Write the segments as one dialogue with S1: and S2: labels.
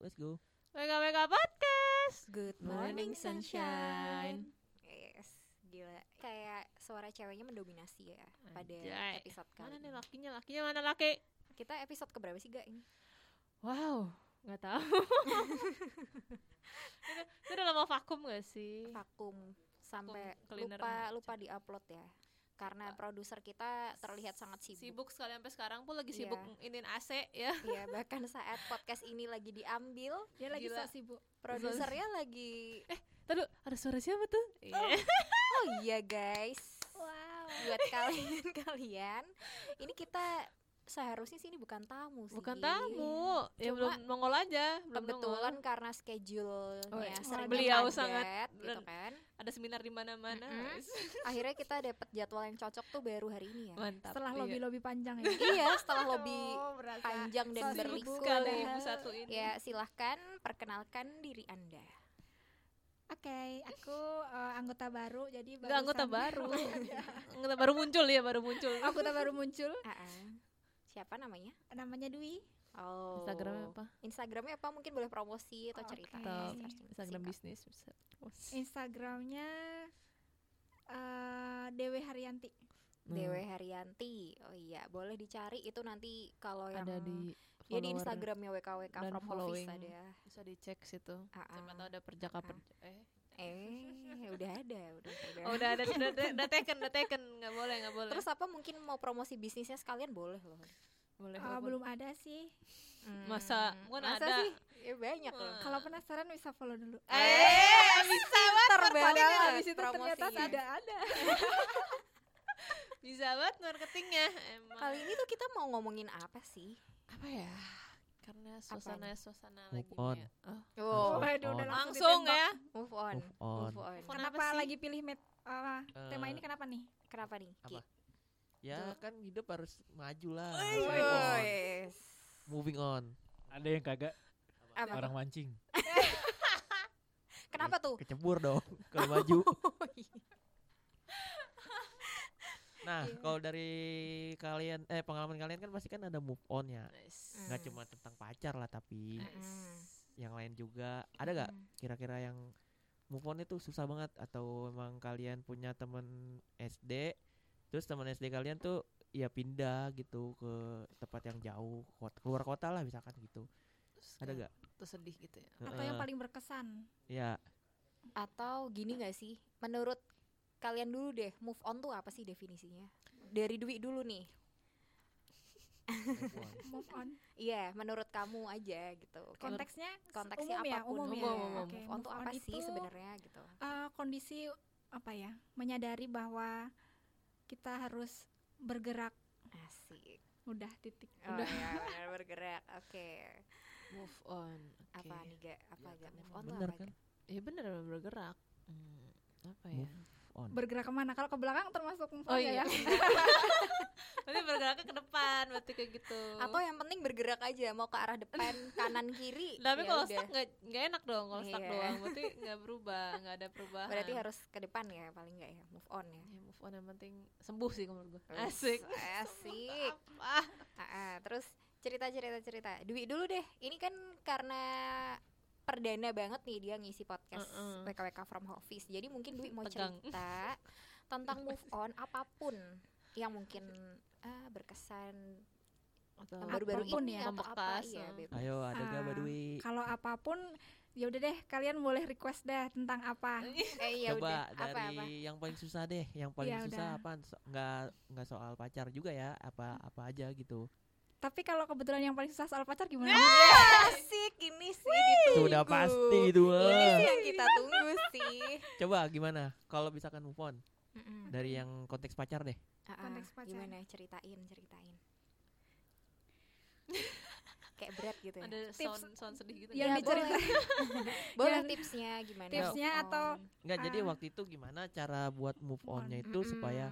S1: Let's go.
S2: Wake up, wake up podcast.
S3: Good
S2: Morning, sunshine.
S3: Yes, gila. Kayak suara ceweknya mendominasi ya pada
S2: Anjay.
S3: episode
S2: Mana
S3: kali.
S2: nih
S3: ini.
S2: lakinya? Lakinya mana laki?
S3: Kita episode keberapa sih gak ini?
S2: Wow, nggak tahu. Itu- itu udah lama vakum gak sih?
S3: Vakum sampai
S2: Iya. Vakum cleaner.
S3: lupa lupa diupload ya. Karena produser kita terlihat sangat sibuk.
S2: Sibuk sekali sampai sekarang pun lagi
S3: Iya.
S2: sibuk inin AC ya.
S3: Iya, bahkan saat podcast ini lagi diambil,
S2: Dia lagi Gila. sok
S3: sibuk. Produsernya lagi
S2: Tadu, ada suara siapa tuh? Iya.
S3: Oh iya guys. Wow. Buat kalian kalian, ini kita seharusnya sih ini bukan tamu sih.
S2: Bukan tamu, ya
S3: Cuma-
S2: belum nongol aja, belum
S3: Kebetulan
S2: nongol.
S3: karena schedule-nya
S2: Oh, iya.
S3: sering
S2: Beliau
S3: padat,
S2: sangat-
S3: gitu kan.
S2: ada seminar di mana-mana.
S3: Mm-mm. Akhirnya kita dapat jadwal yang cocok tuh baru hari ini ya.
S2: Mantap.
S4: setelah
S2: Iya.
S4: lobby-lobby panjang ya
S3: iya, setelah lobby panjang dan
S4: Sibuk
S3: berliku.
S2: sekali
S4: Padahal-
S2: ibu satu ini.
S3: Ya, silahkan perkenalkan diri Anda.
S4: oke aku eh, anggota baru jadi
S2: Nggak anggota
S4: barusan-
S2: baru. anggota baru muncul ya, baru muncul.
S4: anggota baru muncul
S3: Aa, Siapa namanya?
S4: namanya Dwi
S3: Oh.
S2: Instagramnya apa?
S3: Instagramnya apa? Mungkin boleh promosi atau
S4: Oke.
S3: cerita. ya,
S2: Atau
S3: Searching
S2: Iya, Instagram Iya.
S3: Sika.
S2: bisnis bisa.
S4: Instagramnya eh Dewi Haryanti
S2: Nah.
S3: Dewe Haryanti. Oh iya, boleh dicari itu nanti kalau yang
S2: ada Hmm. Iya, di
S3: dia di
S2: follower.
S3: Instagramnya WKWK
S2: dan
S3: from
S2: following.
S3: Office ada.
S2: bisa dicek situ
S3: Ah, ah.
S2: siapa tahu ada perjaka
S3: Ah.
S2: perjaka eh
S3: Eh, udah ada, udah ada.
S2: oh, udah ada udah, udah, udah taken udah taken nggak boleh nggak boleh
S3: Terus apa mungkin mau promosi bisnisnya sekalian boleh loh.
S2: boleh
S4: Eh,
S2: walaupun-
S4: belum ada sih
S2: Masa?
S1: Kan
S2: Bukan
S3: Masa
S2: ada.
S3: sih? Ya banyak loh.
S2: Hmm. Wah.
S4: kalau penasaran bisa follow dulu
S2: Ah. eh ya bisa banget
S3: Terbalas
S4: Padahal habis itu ternyata
S3: promosinya.
S4: tidak ada
S2: bisa banget marketingnya emang
S3: Kali ini tuh kita mau ngomongin apa sih?
S2: apa ya karena suasana suasana
S1: Move
S2: lagi
S1: on.
S2: kayak- oh,
S3: Oh,
S4: waduh udah
S2: langsung
S4: ditembak.
S2: ya
S3: move on.
S1: Move on.
S3: Move on.
S2: Move on.
S4: kenapa
S2: Kenapa sih? Ah.
S4: lagi pilih met eh, tema
S1: Eh,
S4: ini kenapa nih
S3: Kenapa nih? Ki?
S1: Apa? Ya kan hidup harus maju lah. Move on.
S3: Wes.
S1: Moving on.
S5: Ada yang kagak
S3: Apa? Oh.
S5: orang mancing.
S3: Kenapa tuh?
S1: Kecebur dong kalau maju. Nah, kalau dari kalian eh pengalaman kalian kan pasti kan ada move on ya.
S2: Nice.
S1: Nggak cuma tentang pacar lah tapi
S2: Eh. Nice.
S1: yang lain juga. Ada
S3: Hmm.
S1: gak kira-kira yang move on itu susah banget atau emang kalian punya temen SD terus teman SD kalian tuh ya pindah gitu ke tempat yang jauh kot- keluar kota lah misalkan gitu
S2: Terus
S1: ada
S2: kayak
S1: gak?
S2: tuh sedih gitu ya
S4: atau yang paling berkesan
S1: ya
S3: Atau gini gak sih? Menurut kalian dulu deh, move on tuh apa sih definisinya? Dari Dwi dulu nih.
S1: move on.
S4: move on
S3: Iya, menurut kamu aja gitu. Kayak
S4: konteksnya
S3: konteksnya
S4: umum ya
S3: apapun.
S4: umum ya
S2: Umum, umum.
S4: Oke,
S3: move on tuh
S4: move
S3: apa sih
S4: itu,
S3: sebenarnya gitu?
S4: eh, kondisi apa ya menyadari bahwa kita harus bergerak
S3: Asik.
S4: udah titik
S3: Oh,
S4: udah
S3: ya, benar bergerak. Oke.
S2: move on Oke.
S3: Apa nih, Ga? Apa
S2: Ya,
S3: Ga?
S2: kan
S3: Move
S2: emang
S3: on tuh
S1: bener
S3: apa, Ga?
S1: kan
S2: ya bener bergerak Hmm, apa ya
S1: Move on
S4: bergerak kemana kalau ke belakang termasuk move
S2: Oh
S4: on ya
S2: iya.
S4: ya
S2: Berarti bergeraknya ke depan berarti kayak gitu.
S3: Atau yang penting bergerak aja, mau ke arah depan, kanan, kiri.
S2: tapi
S3: ya
S2: kalau
S3: udah.
S2: stuck nggak nggak enak dong kalau stuck
S3: Iya.
S2: doang. Berarti nggak berubah, nggak ada perubahan.
S3: berarti harus ke depan ya paling enggak ya, move on ya.
S2: ya, move on yang penting sembuh sih menurut gue.
S3: Terus,
S2: Asik.
S3: Asik.
S2: Ah,
S3: Ah, ah, terus cerita-cerita cerita. Dwi dulu deh. Ini kan karena perdana banget nih dia ngisi podcast
S2: Mm-mm.
S3: WKWK from office. Jadi mungkin Dwi mau
S2: Tegang.
S3: cerita tentang move on apapun yang mungkin ah, berkesan
S2: atau
S3: yang baru-baru
S4: Apapun
S3: ini
S4: ya.
S3: atau apa
S2: Membekas,
S3: iya,
S2: ah.
S3: bebas.
S1: ayo ada gak
S4: Ah,
S1: Mbak Dwi
S4: kalau apapun ya udah deh kalian boleh request deh tentang apa
S3: Eh, iya udah.
S1: coba dari
S3: apa apa?
S1: yang paling susah deh yang paling
S4: Ya
S1: susah
S4: udah.
S1: apa nggak nggak soal pacar juga ya apa apa aja gitu
S4: tapi kalau kebetulan yang paling susah soal pacar gimana
S3: Nah. Iya, Asik ini sih ditunggu.
S1: sudah pasti dua
S3: Ini sih yang kita tunggu sih.
S1: coba gimana kalau misalkan move on
S3: Mm-mm.
S1: dari yang konteks pacar deh
S3: Ah, ah,
S4: Konteks pacar.
S3: Gimana ceritain ceritain. Kayak berat gitu ya.
S2: ada sound sound sedih gitu.
S3: Ya,
S4: yang diceritain
S3: Boleh
S4: Yang-
S3: tipsnya gimana? Oh.
S4: tipsnya
S3: Move
S4: atau
S3: on.
S1: nggak jadi
S4: Ah.
S1: waktu itu gimana cara buat move
S4: Move
S1: onnya
S4: on.
S1: itu
S3: Mm-mm.
S1: supaya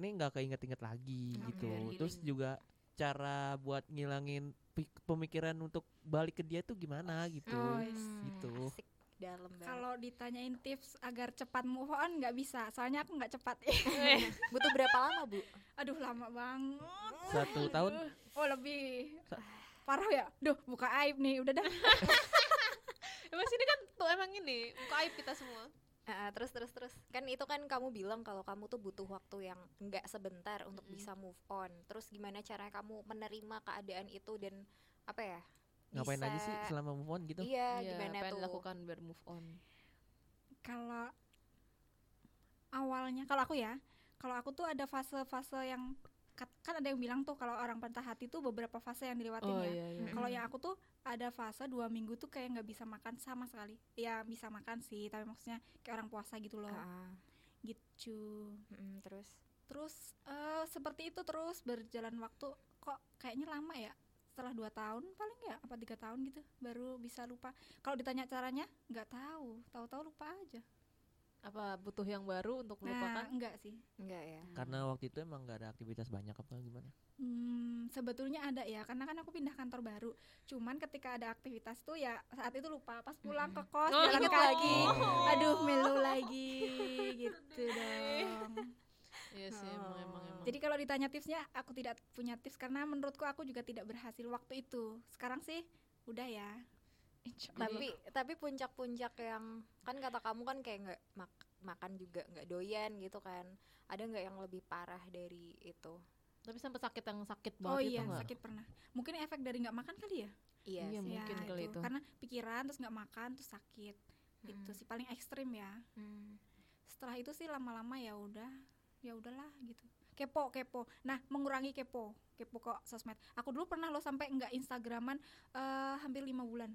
S1: ini nggak keinget-inget lagi
S3: Oke.
S1: gitu
S2: Biar
S1: terus
S2: healing.
S1: juga cara buat ngilangin pi- pemikiran untuk balik ke dia tuh gimana gitu
S4: Oh,
S3: Hmm,
S1: gitu.
S3: Asik dalam banget.
S4: kalau ditanyain tips agar cepat move on nggak bisa soalnya aku nggak cepat
S3: butuh berapa lama, Bu?
S4: aduh lama banget
S1: satu tahun
S4: oh lebih
S1: Sa-
S4: parah ya duh buka aib nih udah dah
S2: kan ini buka aib kita semua.
S3: Ah, ah, terus terus terus kan itu kan kamu bilang kalau kamu tuh butuh waktu yang nggak sebentar untuk
S2: Mm-mm.
S3: bisa move on terus gimana cara kamu menerima keadaan itu dan apa ya
S1: Ngapain
S3: bisa,
S1: aja sih selama move on gitu?
S3: iya
S5: Iya,
S3: gimana
S5: apa yang
S3: tuh
S5: dilakukan biar move on?
S4: kalau awalnya kalau aku ya kalau aku tuh ada fase-fase yang kat- kan ada yang bilang tuh kalau orang patah hati tuh beberapa fase yang dilewatin
S2: Oh,
S4: ya
S5: iya.
S4: kalau yang aku tuh ada fase dua minggu tuh kayak nggak bisa makan sama sekali ya bisa makan sih tapi maksudnya kayak orang puasa gitu loh
S3: Ah, ah.
S4: gitu
S3: Mm-mm, terus
S4: terus eh, seperti itu terus berjalan waktu kok kayaknya lama ya setelah dua tahun paling ya apa tiga tahun gitu baru bisa lupa kalau ditanya caranya nggak tahu tahu-tahu lupa aja
S5: Apa butuh yang baru untuk
S4: nah
S2: kan?
S5: melupakan?
S4: enggak sih
S3: enggak ya
S1: Karena waktu itu emang nggak ada aktivitas banyak apa gimana?
S4: Hmm, sebetulnya ada ya, karena kan aku pindah kantor baru. Cuman ketika ada aktivitas tuh ya saat itu lupa. Pas pulang ke
S2: Oh,
S4: kos jalan
S2: ingat
S4: kaki,
S1: lagi.
S4: aduh melu lagi gitu dong.
S5: Iya sih, emang emang emang.
S4: Jadi kalau ditanya tipsnya, aku tidak punya tips karena menurutku aku juga tidak berhasil waktu itu. Sekarang sih udah ya. Insya Allah.
S3: tapi tapi puncak-puncak yang kan kata kamu kan kayak nggak mak- makan juga nggak doyan gitu kan ada nggak yang lebih parah dari itu
S5: tapi sampai sakit yang sakit banget
S4: Oh
S5: itu
S4: iya,
S5: nggak?
S4: sakit pernah. Mungkin efek dari nggak makan kali ya?
S3: iya
S5: Iya,
S3: sih.
S4: Ya,
S5: mungkin kali itu.
S4: Karena pikiran terus nggak makan terus sakit. Itu
S3: Mm-mm.
S4: sih paling ekstrim ya.
S3: Mm.
S4: setelah itu sih lama-lama ya udah ya udahlah gitu kepo kepo nah mengurangi kepo kepo kok sosmed aku dulu pernah loh sampai nggak instagraman eh, hampir lima bulan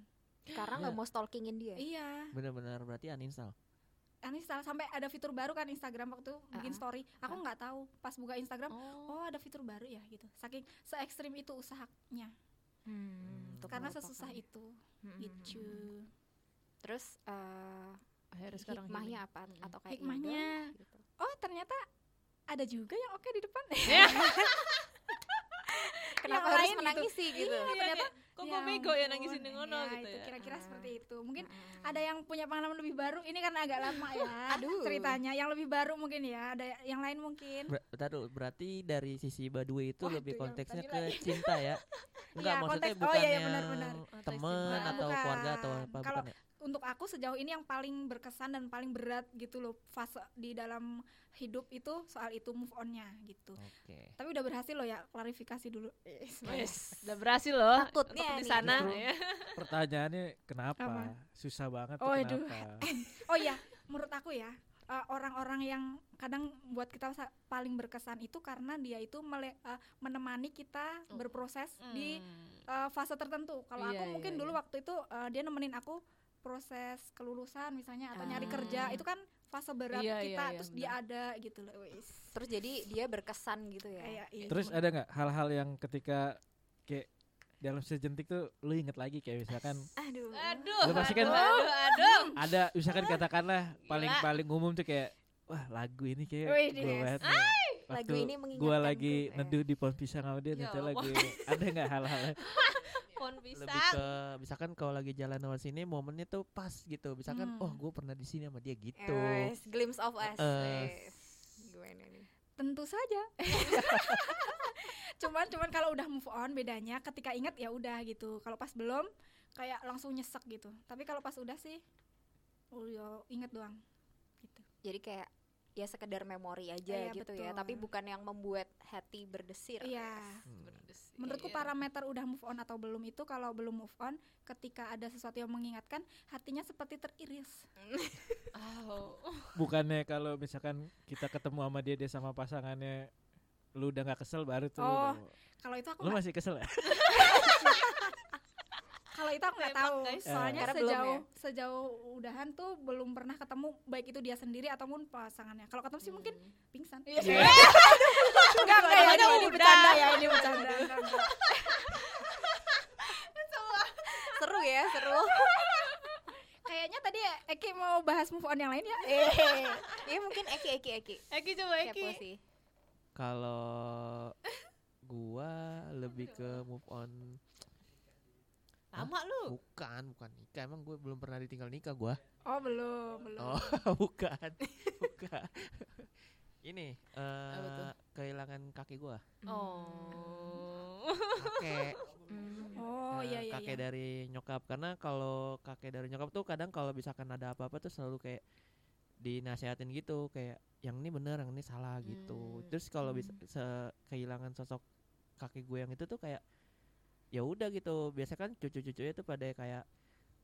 S3: karena nggak
S1: Iya.
S3: mau stalkingin dia
S4: iya
S1: Bener-bener berarti uninstall.
S4: uninstall sampai ada fitur baru kan instagram waktu bikin
S3: Ah,
S4: story aku nggak tahu pas buka instagram
S5: Oh,
S4: oh ada fitur baru ya gitu saking se ekstrim itu usahanya
S3: Hmm, untuk
S4: karena
S3: melupakan.
S4: sesusah itu
S3: Mm-mm.
S4: gitu
S3: terus eh,
S5: akhirnya sekarang
S3: hikmahnya apa
S5: Mm-mm.
S3: atau kayak
S4: hikmahnya
S3: yaudah gitu.
S4: oh ternyata ada juga yang oke di depan
S3: Ya. kenapa
S4: Yang
S3: harus
S4: lain gitu.
S3: menangis sih gitu
S2: Iya,
S4: ternyata,
S2: kayak, kok gue
S4: Ya
S2: bego ya
S4: ampun,
S2: nangisin di ngono
S4: iya,
S2: gitu
S4: itu
S2: ya.
S4: kira-kira
S3: Ah.
S4: seperti itu mungkin
S3: Mm-mm.
S4: ada yang punya pengalaman lebih baru ini karena agak lama ya
S3: Aduh.
S4: ceritanya yang lebih baru mungkin ya ada yang lain mungkin
S1: Ber- bentar dulu, berarti dari sisi Badui itu
S4: Waduh,
S1: lebih
S4: yang
S1: konteksnya
S4: tadi
S1: ke cinta ya? Enggak,
S4: Iya,
S1: maksudnya
S4: konteks- oh,
S1: bukan
S4: iya, iya,
S1: yang
S4: benar-benar.
S1: teman
S4: cinta.
S1: atau
S4: Bukan.
S1: keluarga atau apa
S4: Kalau-
S1: bukan ya?
S4: untuk aku sejauh ini yang paling berkesan dan paling berat gitu loh fase di dalam hidup itu soal itu move onnya gitu
S1: Oke.
S4: tapi udah berhasil loh ya klarifikasi dulu
S2: Yes, udah berhasil loh.
S3: Takutnya
S2: untuk di
S3: nih.
S2: sana
S5: Gitu.
S6: Justru-
S2: ya.
S6: Pertanyaannya kenapa?
S4: Apa?
S6: Susah banget tuh
S4: Oh, aduh.
S6: kenapa?
S4: oh iya menurut aku ya eh, orang-orang yang kadang buat kita sa- paling berkesan itu karena dia itu mele- eh, menemani kita
S5: Oh.
S4: berproses
S2: Mm.
S4: di
S5: Hmm.
S4: eh, fase tertentu. Kalau
S5: Iya,
S4: aku
S5: iya,
S4: mungkin dulu
S5: iya.
S4: waktu itu eh, dia nemenin aku proses kelulusan misalnya atau nyari
S5: Ah.
S4: kerja itu kan fase berat
S5: Iya, iya,
S4: kita
S5: iya,
S4: terus
S5: benar.
S4: dia ada gitu loh. Wis.
S3: terus jadi dia berkesan gitu ya
S4: Kayak iya.
S6: Terus ada nggak hal-hal yang ketika kayak dalam sejentik tuh lu inget lagi kayak misalkan
S3: aduh
S2: Aduh,
S6: Lu pasti kan-
S2: aduh, aduh, aduh.
S6: ada misalkan katakanlah
S2: Gila.
S6: paling paling umum tuh kayak wah lagu ini kayak
S4: Wih,
S6: gue
S4: yes.
S6: banget nih."
S3: Lagu
S6: Waktu
S3: ini
S6: gua
S3: mengingatkan
S6: lagi
S3: gue.
S6: neduh di pohon pisang sama dia
S2: Ya
S6: nyetel
S2: Allah.
S6: lagu ini. ada nggak hal-hal
S2: Pohon bisa.
S1: Lebih ke misalkan kalau lagi jalan lewat sini momennya tuh pas gitu.
S4: Hmm.
S1: Misalkan oh, gue pernah di sini sama dia gitu.
S3: Eh, wes, glimpse of us
S1: Eh.
S3: wes. gimana nih
S4: Tentu saja. cuman cuman kalau udah move on bedanya ketika ingat ya udah gitu. Kalau pas belum kayak langsung nyesek gitu. Tapi kalau pas udah sih oh ya inget doang gitu.
S3: jadi kayak ya sekedar memori aja
S4: Iya,
S3: gitu ya
S4: betul.
S3: tapi bukan yang membuat hati berdesir
S4: Iya.
S1: Hmm.
S4: Menurutku parameter udah move on atau belum itu kalau belum move on ketika ada sesuatu yang mengingatkan hatinya seperti teriris.
S5: Oh.
S6: bukannya kalau misalkan kita ketemu sama dia dia sama pasangannya lu udah nggak kesel baru tuh
S4: Oh,
S6: lu-
S4: Kalau itu aku
S6: lu
S4: nggak-
S6: masih kesel ya
S4: kalau itu aku nggak
S2: Tembak,
S4: tahu.
S2: guys.
S4: Soalnya
S3: Karena belum
S4: sejauh sejauh udahan tuh belum pernah ketemu baik itu dia sendiri ataupun pasangannya. Kalau ketemu sih mungkin pingsan. Hmm. Iya. enggak, enggak,
S2: Dua-duanya
S4: ini- ini
S2: udah.
S4: bercanda ya, ini bercanda. Enggak, enggak.
S3: seru ya seru
S4: Kayaknya tadi Eki mau bahas move on yang lain ya.
S3: eh ya mungkin Eki Eki Eki
S2: Eki coba Eki.
S3: kepo sih
S1: Kalau gua lebih ke move on
S2: Lama lu.
S1: bukan bukan nikah emang gue belum pernah ditinggal nikah gua
S4: Oh, belum, belum.
S1: Oh, bukan. bukan. Ini eh
S5: Apa tuh?
S1: kehilangan kaki gua.
S2: Oh.
S1: Kakek.
S3: Hmm.
S4: Oh,
S1: eh,
S4: iya iya
S5: Oh.
S4: iya.
S1: kakek Eh, dari nyokap karena kalau kakek kayak dari nyokap tuh kadang kalau misalkan ada apa-apa tuh selalu kayak dinasehatin gitu kayak yang ini bener yang ini salah gitu
S5: Hmm.
S1: terus kalau bisa
S4: Hmm.
S1: se- kehilangan sosok kakek gue yang itu tuh kayak ya udah gitu biasa kan cucu-cucunya tuh pada kayak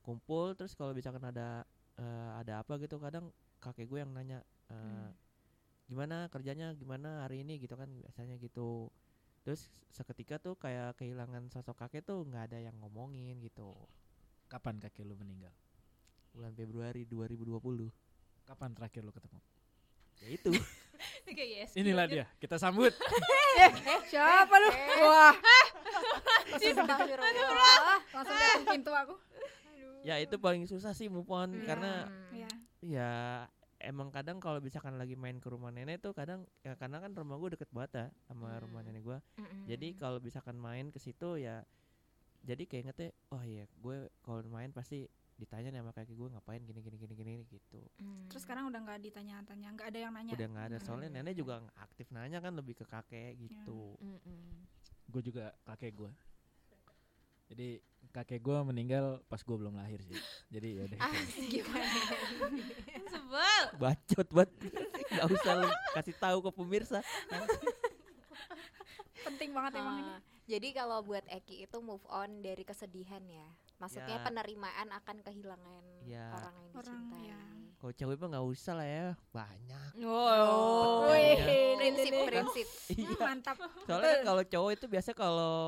S1: kumpul terus kalau misalkan ada eh, ada apa gitu kadang kakek gue yang nanya eh, gimana kerjanya gimana hari ini gitu kan biasanya gitu terus seketika tuh kayak kehilangan sosok kakek tuh nggak ada yang ngomongin gitu
S6: Kapan kakek lu meninggal?
S1: bulan Februari 2020
S6: Kapan terakhir lu ketemu?
S1: ya itu
S2: Kayak yes.
S6: Inilah dia. Kita sambut.
S4: Siapa lu?
S3: eh.
S4: Wah,
S3: ya. Astagfirullah.
S4: langsung datang pintu aku.
S1: ya itu paling susah sih move on karena
S3: Hmm.
S4: Iya.
S1: ya emang kadang kalau misalkan lagi main ke rumah nenek tuh kadang ya karena kan rumah gue deket banget ya sama rumah
S5: Hmm.
S1: nenek gue
S3: Mm-mm.
S1: jadi
S2: Hmm.
S1: kalau misalkan main ke situ ya jadi kayak ingetnya oh iya gue kalau main pasti ditanya nih sama kakek gue ngapain gini gini gini gini gitu
S3: Hmm.
S4: Terus sekarang udah nggak ditanya-tanya, nggak ada yang nanya.
S1: udah nggak ada
S4: Hmm.
S1: soalnya nenek juga nggak aktif nanya kan lebih ke kakek gitu
S5: Hmm.
S6: gue juga kakek gue. Jadi kakek gue meninggal pas gue belum lahir sih. Jadi ya
S4: Ah,
S6: udah.
S3: gimana?
S2: Sebel.
S1: bacot banget nggak usah lu kasih tahu ke pemirsa
S4: Penting banget emang ini.
S3: Ah, Jadi kalau buat Eki itu move on dari kesedihan ya. Maksudnya
S1: Ya.
S3: penerimaan akan kehilangan
S1: Ya.
S3: orang yang
S4: Orang,
S3: dicintai.
S4: ya.
S1: kalau cewek mah nggak usah lah ya banyak
S5: Oh.
S3: Iya.
S1: Wih,
S3: prinsip prinsip.
S4: Hmm,
S1: iya
S4: mantap.
S1: soalnya kan kalau cowok itu biasa kalau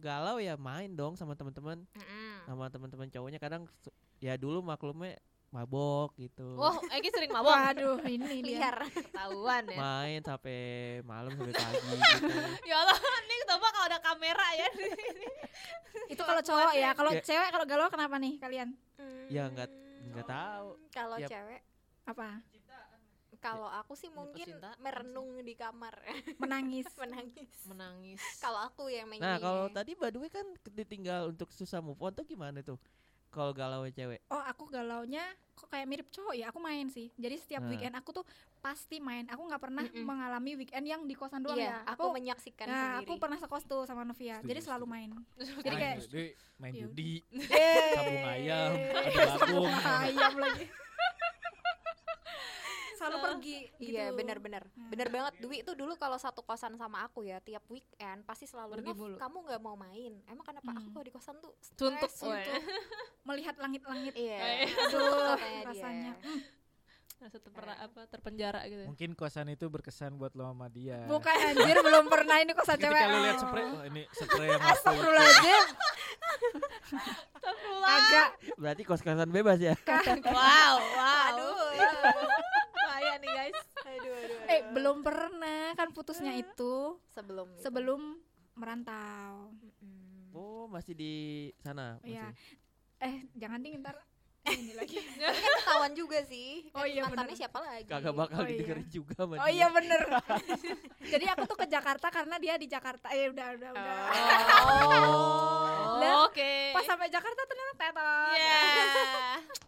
S1: galau ya main dong sama teman-teman
S3: Mm-mm.
S1: sama teman-teman cowoknya kadang su- ya dulu maklumnya mabok gitu
S5: Wah, Oh, Eki sering mabok.
S4: Waduh, ini dia.
S3: Liar.
S5: Ketahuan ya.
S1: main sampai malam sampai pagi gitu
S5: Ya Allah, ini coba kalau ada kamera ya di sini.
S4: Itu kalau cowok ya, kalau
S1: Kayak-
S4: cewek kalau galau kenapa nih kalian?
S1: Ya, nggak- nggak tahu.
S3: Kalau
S1: Ya.
S3: cewek,
S4: Apa?
S3: kalau aku sih mungkin
S5: percintaan
S3: merenung di kamar,
S4: Menangis.
S3: menangis.
S5: Menangis.
S3: Kalau aku yang main
S4: Iya.
S1: nah kalau tadi by the way kan ditinggal untuk susah move on tuh gimana tuh kalau galau cewek
S4: Oh, aku galaunya kok kayak mirip cowok ya? Aku main sih. Jadi setiap
S6: Ah.
S1: Nah.
S4: weekend aku tuh pasti main. Aku nggak pernah
S3: Mm-mm.
S4: mengalami weekend yang di kosan doang
S3: Iya,
S4: ya.
S3: aku menyaksikan
S4: Nah,
S3: sendiri.
S4: aku pernah sekos tuh sama Novia.
S6: Setuju,
S4: Jadi selalu
S6: setuju.
S4: main.
S6: Main
S4: Jadi kayak
S6: judi, main
S4: Ya
S6: judi,
S4: sabung
S6: sabung ayam, ada bagong.
S4: ayam lagi. selalu
S5: Selalu.
S4: pergi.
S3: Iya
S4: gitu.
S3: benar-benar,
S4: Nah.
S3: benar banget. Dwi itu dulu kalau satu kosan sama aku ya tiap weekend pasti selalu
S5: Pergi
S3: "Nov,
S5: mulu."
S3: kamu nggak mau main. Emang kenapa aku
S4: Hmm.
S3: kalau di kosan tuh stres,
S5: Suntuk,
S3: suntuk."
S5: weh.
S4: Melihat langit-langit.
S3: Iya.
S5: Eh.
S3: Aduh,
S4: rasanya. Hmm,
S5: Rasa terpera- apa terpenjara gitu.
S6: Mungkin kosan itu berkesan buat lo sama dia.
S4: Bukan anjir belum pernah ini kosan cewek.
S6: Ah. Ketika lo lihat
S4: Oh.
S6: spray, "Wah, ini spray yang aku
S4: Astagfirullahaladzim Kagak
S1: berarti kos-kosan bebas ya
S5: Wow, wow.
S3: Aduh.
S5: bahaya nih guys.
S3: aduh, aduh,
S4: Eh
S3: aduh.
S4: belum pernah Kan putusnya itu
S3: sebelum itu.
S4: Sebelum merantau
S3: Mm.
S1: oh masih di sana masih.
S4: Iya. Eh jangan ding ntar Ini lagi
S3: Kan ketahuan juga sih. Kan
S4: Oh iya,
S3: mantannya
S4: bener.
S3: siapa lagi?
S1: kagak
S4: Oh
S1: bakal
S4: iya.
S1: didengerin juga sama
S4: Oh
S1: dia.
S4: iya bener Jadi aku tuh ke Jakarta karena dia di Jakarta Eh udah udah udah
S5: Oh.
S4: Lah,
S5: Oke.
S4: Pas sampai Jakarta ternyata tetot
S5: Ya.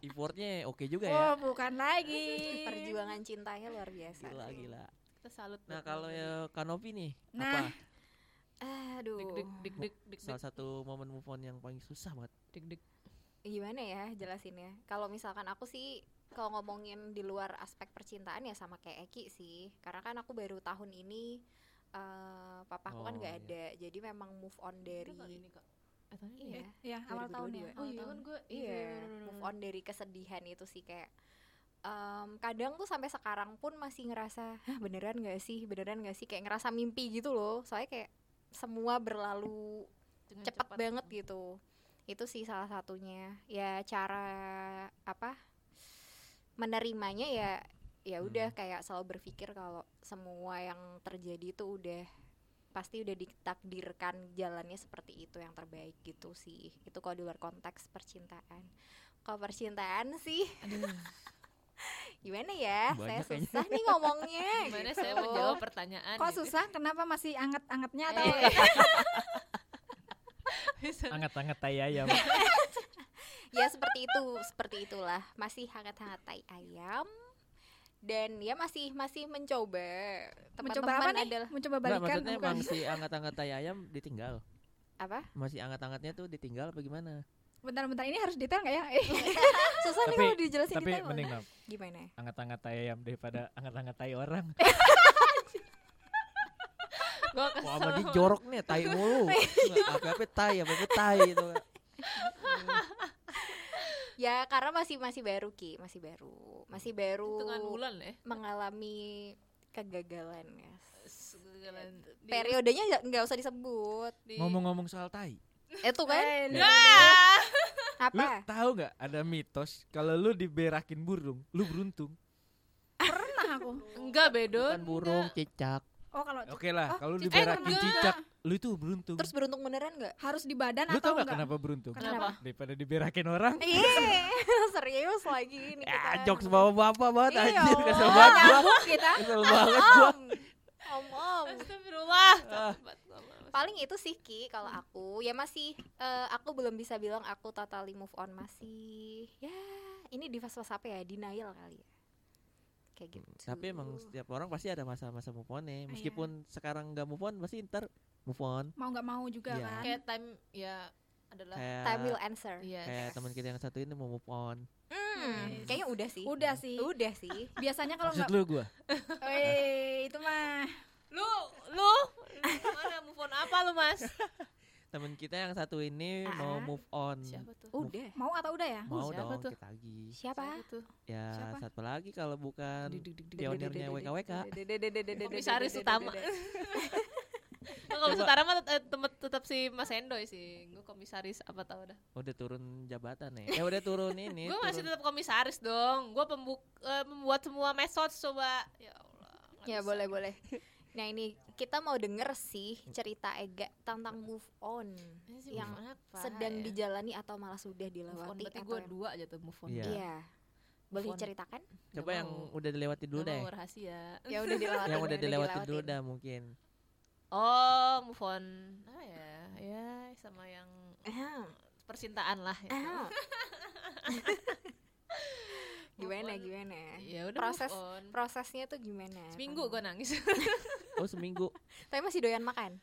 S1: effortnya oke juga ya
S4: Oh bukan lagi
S3: Perjuangan cintanya luar biasa.
S4: iya.
S1: gila
S3: sih.
S1: gila
S5: Kita salut.
S1: nah
S5: buat
S1: kalau
S5: Mama.
S1: ya Kanopi nih
S4: Nah.
S1: apa
S3: Aduh.
S5: dik dik dik dik dik
S1: salah satu momen move on yang paling susah banget
S5: dik dik.
S3: Gimana ya jelasinnya? Kalau misalkan aku sih kalau ngomongin di luar aspek percintaan ya sama kayak Eki sih. Karena kan aku baru tahun ini eh papaku kan
S1: Oh,
S3: gak
S1: iya.
S3: ada. Jadi memang move on dari
S5: Eh, tahun ini.
S3: Iya.
S4: Ya awal tahun
S3: 2022.
S4: ya
S5: Oh iya
S3: Awal
S5: kan gue
S3: Iya, move on dari kesedihan itu sih kayak em, kadang tuh sampai sekarang pun masih ngerasa Hah, beneran gak sih beneran gak sih kayak ngerasa mimpi gitu loh soalnya kayak semua berlalu
S2: Nah,
S3: cepat banget gitu itu sih salah satunya ya cara apa menerimanya ya ya udah kayak selalu berpikir kalau semua yang terjadi itu udah pasti udah ditakdirkan jalannya seperti itu yang terbaik gitu sih itu kalau di luar konteks percintaan kalau percintaan sih gimana ya saya
S1: Banyak kayaknya.
S3: susah nih ngomongnya
S5: Gimana
S3: gitu.
S5: saya menjawab pertanyaan? gitu.
S4: Kok susah kenapa masih anget-angetnya atau
S5: Eh.
S6: Angat-angat tai ayam.
S4: Iya,
S3: ya seperti itu seperti itulah masih hangat-hangat tai ayam dan ya masih masih mencoba
S4: Mencoba apa
S3: teman-teman
S4: nih?
S3: adalah
S4: Mencoba
S1: Enggak,
S4: balikan
S1: maksudnya
S4: bukan?
S1: emang si angkat-angkat tai ayam ditinggal
S3: apa
S1: masih angkat-angkatnya tuh ditinggal apa gimana
S4: bentar-bentar ini harus detail nggak ya? Eh,
S3: susah nih
S6: Tapi-
S3: kalau dijelasin
S6: Tapi
S3: detail
S6: mending Nam,
S3: gimana ya?
S6: angat-angat tai ayam daripada angat-angat tai orang.
S4: Iya.
S2: Gua
S1: Wah,
S2: kesel.
S1: sama dia jorok nih, tai mulu. Apa-apa tai, apa-apa tai gitu kan. itu.
S3: ya karena masih masih baru ki masih baru masih baru
S2: Hitungan bulan ya.
S3: mengalami kegagalan ya
S2: Segala- di-
S3: periodenya nggak- nggak usah disebut
S2: di-
S6: Ngomong-ngomong soal tai,
S3: itu kan
S6: Ya.
S2: Ah,
S6: lu
S3: apa
S6: tahu nggak ada mitos kalau lu diberakin burung, lu beruntung.
S4: pernah aku.
S2: Enggak bedo.
S1: Bukan burung cicak.
S4: Oh kalau
S6: Oke
S4: Oh,
S6: lah, kalau
S4: cicak.
S6: diberakin
S2: Eh, enggak.
S6: cicak, lu itu beruntung.
S3: terus beruntung beneran nggak
S4: harus di badan
S6: lu
S4: atau
S6: tau nggak
S4: enggak?
S6: kenapa beruntung?
S2: Kenapa?
S6: Daripada diberakin orang.
S3: Iya, serius lagi ini
S1: Ya,
S3: kita.
S1: jokes bawa bapak banget
S3: Iya,
S1: anjir,
S3: Allah.
S1: kesel banget gua.
S3: Nyambung kita.
S1: Kesel banget gua.
S3: Om, om, om.
S2: Astagfirullah.
S1: Ah.
S2: Tobat, tobat.
S3: Paling itu sih Ki kalau aku ya masih eh, aku belum bisa bilang aku totally move on masih ya ini di fase-fase apa ya denial kali ya kayak gitu.
S1: Hmm, Tapi emang setiap orang pasti ada masa-masa move on nih. Meskipun sekarang nggak move on, pasti ntar move on.
S4: Mau nggak mau juga
S1: Iya.
S4: kan?
S2: Kayak time ya adalah
S3: time will
S1: Kayak
S3: answer.
S2: Iya.
S1: kayak teman kita yang satu ini mau move on.
S3: Hmm,
S4: Yes.
S3: kayaknya udah sih.
S4: Udah sih. Ah.
S3: Udah sih.
S4: Biasanya kalau
S6: Maksud
S4: nggak,
S6: lu gua?
S4: eh itu mah
S2: Lu lu mana move on apa lu, Mas?
S1: Hmm. Teman kita yang satu ini
S3: Ah.
S1: mau move on.
S2: Siapa tuh?
S3: Udah.
S4: mau atau udah ya?
S1: Mau
S2: Siapa
S1: dong
S2: tuh?
S1: kita lagi.
S3: Siapa?
S2: tuh?
S1: Ya,
S4: Siapa?
S1: satu lagi kalau bukan
S2: Dig, dig, dig, dig.
S1: pionirnya WKWK.
S2: Komisaris utama. Gua komisaris utama tet- eh, temet- tetap si Mas Endoy sih. Gue komisaris apa tau dah.
S1: Udah turun jabatan ya. Eh, udah turun ini.
S2: Gue masih
S1: turun-
S2: tetap komisaris dong. Gue pembuk eh, membuat semua metode coba. Ya Allah. nggak
S3: Ya
S2: bisa.
S3: boleh boleh. Nah ini kita mau denger sih cerita Ega tentang move on
S2: Ini sih
S3: yang
S2: move on apa
S3: sedang
S2: ya?
S3: dijalani atau malah sudah
S2: Move on
S3: dilewati
S2: berarti
S3: atau
S2: gue
S3: yang-
S2: dua aja tuh move on.
S1: Iya.
S3: Iya. Boleh
S2: on.
S3: ceritakan?
S1: Coba
S2: Nggak
S1: yang
S2: mau.
S1: udah dilewati dulu
S2: Nggak
S1: deh.
S2: mau rahasia.
S3: Ya udah dilewati.
S1: Yang udah dilewati dulu dah mungkin.
S2: Oh, move on. Ah ya, ya sama yang
S3: Eh.
S2: percintaan lah. Ya,
S3: Ah.
S2: on.
S3: gimana gimana?
S2: Ya udah
S3: Proses-
S2: move on.
S3: Prosesnya tuh gimana?
S2: Seminggu gue
S3: Kamu-
S2: nangis.
S1: Oh, seminggu.
S3: Tapi masih doyan makan.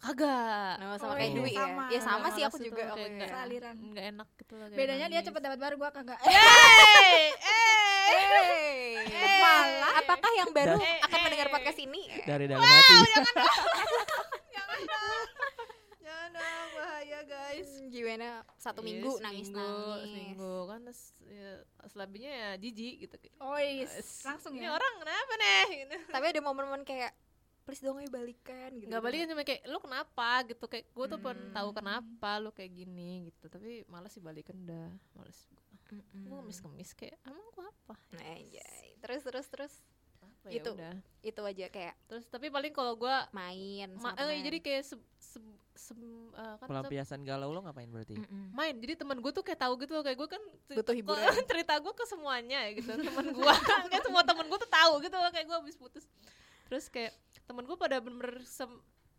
S2: Kagak.
S3: Nah, sama
S1: Oh,
S3: kayak
S1: iya.
S3: Dwi ya.
S4: Sama.
S3: Ya sama
S2: Nggak
S3: sih aku
S2: males itu,
S3: juga.
S2: kayak
S3: aku
S2: nggak-
S3: ya.
S4: Saliran.
S2: nggak enak gitu loh, kayak
S4: Bedanya dia
S2: nangis.
S4: cepet dapat baru gua kagak.
S2: Eh, Hey, hey.
S3: Hey,
S2: Eh.
S3: malah apakah yang baru
S1: Eh,
S3: akan
S2: eh.
S3: mendengar podcast ini?
S1: Dari dalam hati.
S2: Jangan dong, bahaya guys.
S3: Hmm, Gimana? Satu minggu nangis nangis.
S2: Iya, Seminggu kan terus ya, selebihnya ya jijik gitu.
S4: Oi,
S2: Eh,
S4: langsung
S2: Ini
S4: ya.
S2: orang kenapa nih? Gitu.
S3: Tapi ada momen-momen kayak please dong ayo balikan gitu.
S2: Gak balikin cuma kayak lu kenapa gitu kayak gue tuh pengen tahu
S3: Hmm.
S2: kenapa lu kayak gini gitu tapi malas sih balikan dah malas gue
S3: Hmm.
S2: kemis kemis kayak emang gue apa
S3: kan. Nah, anjay. Terus terus terus
S2: apa ya
S3: Itu.
S2: udah
S3: itu aja kayak
S2: terus tapi paling kalau gue
S3: main
S2: ma-
S3: sama
S2: eh,
S3: teman.
S2: jadi kayak se, se- se- eh, kan tuh
S1: Pelampiasan galau lo ngapain berarti?
S2: Mm,
S3: Mm-mm.
S2: main jadi teman gue tuh kayak tahu gitu loh kayak gue kan cer-
S3: Butuh
S2: kok-
S3: hiburan.
S2: cerita gue ke semuanya ya gitu teman gue kayak semua teman gue tuh tahu gitu loh kayak gue habis putus terus kayak teman gue pada bener-bener sem-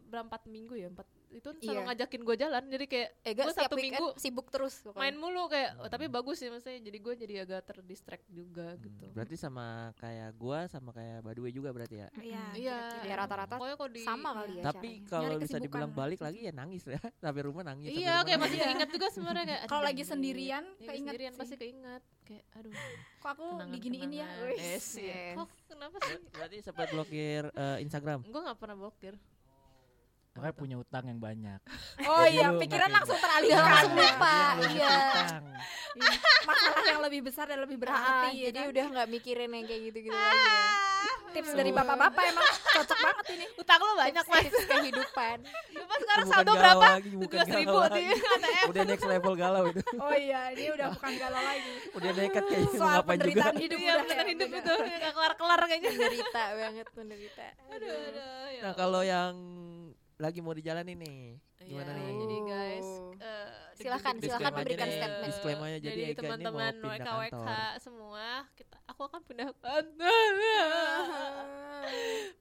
S2: berapa empat minggu ya empat itu selalu
S3: Iya.
S2: ngajakin gue jalan jadi kayak
S3: Ega
S2: Gua
S3: Eh, setiap
S2: satu
S3: weekend
S2: minggu
S3: sibuk terus
S2: main
S3: pokoknya.
S2: mulu kayak oh, tapi bagus sih maksudnya jadi gue jadi agak terdistract juga
S1: Hmm,
S2: gitu
S1: Berarti sama kayak gua sama kayak Badui juga berarti ya.
S4: Iya.
S2: iya
S3: Ya, rata-rata
S2: pokoknya kalau di
S3: sama kali
S2: Iya,
S3: ya.
S1: Tapi
S3: caranya.
S1: kalau
S4: Nyari
S1: bisa
S4: kesibukan
S1: dibilang
S4: lah.
S1: balik lagi ya nangis ya. Sampai rumah nangis. sampai
S2: iya
S1: rumah
S2: kayak
S1: nangis.
S2: masih keinget juga sebenarnya kayak
S4: Kalau
S2: aduh,
S4: lagi sendirian
S2: iya, lagi
S4: keinget
S2: sendirian pasti
S4: sih.
S2: keinget kayak aduh
S4: Kok aku diginiin ya?
S2: kenangan-kenangan.
S4: Wih.
S2: Yes, iya.
S3: yes.
S2: Kok kenapa sih
S1: Berarti sempat blokir eh, Instagram.
S2: gue gak pernah blokir
S6: Makanya punya utang yang banyak.
S4: Oh
S6: Jadi
S4: iya,
S6: lu
S4: pikiran
S6: makin-
S4: langsung
S3: Iya,
S4: teralihkan.
S3: langsung
S4: Iya.
S3: lupa. Iya.
S6: Utang.
S4: Masalah yang lebih besar dan lebih
S3: Ah,
S4: berarti. ya
S3: jadi
S4: kan?
S3: udah nggak mikirin yang kayak gitu-gitu
S2: Ah.
S3: lagi. ya.
S4: tips dari bapak-bapak emang cocok banget ini.
S2: utang lo banyak mas
S3: Tips kehidupan.
S2: Cuma sekarang
S1: Bukan
S2: saldo
S1: galau
S2: berapa
S1: Lagi, bukan
S2: tujuh ribu
S1: galau
S2: di
S1: lagi.
S2: ATM
S1: Udah next level galau itu.
S4: Oh iya, ini udah bukan galau lagi.
S1: Udah nekat kayaknya mau
S4: Soal
S1: gitu, ngapain juga.
S4: penderitaan hidup
S2: iya
S4: udah
S2: bener
S4: ya,
S2: hidup
S4: beda.
S2: itu gak kelar kelar kayaknya
S3: Menderita banget menderita.
S2: aduh aduh ya
S1: Nah, kalau yang lagi mau dijalani nih.
S2: Iya,
S1: Gimana nih?
S2: jadi guys
S3: Oh.
S2: eh,
S3: Silakan,
S2: deg-degan
S3: silakan
S2: dikit.
S3: memberikan
S2: Eh,
S3: statement.
S1: Disclaimer aja, jadi
S2: jadi
S1: Ega ini mau
S2: teman-teman
S1: pindah
S2: WKWK
S1: kantor.
S2: semua kita aku akan pindah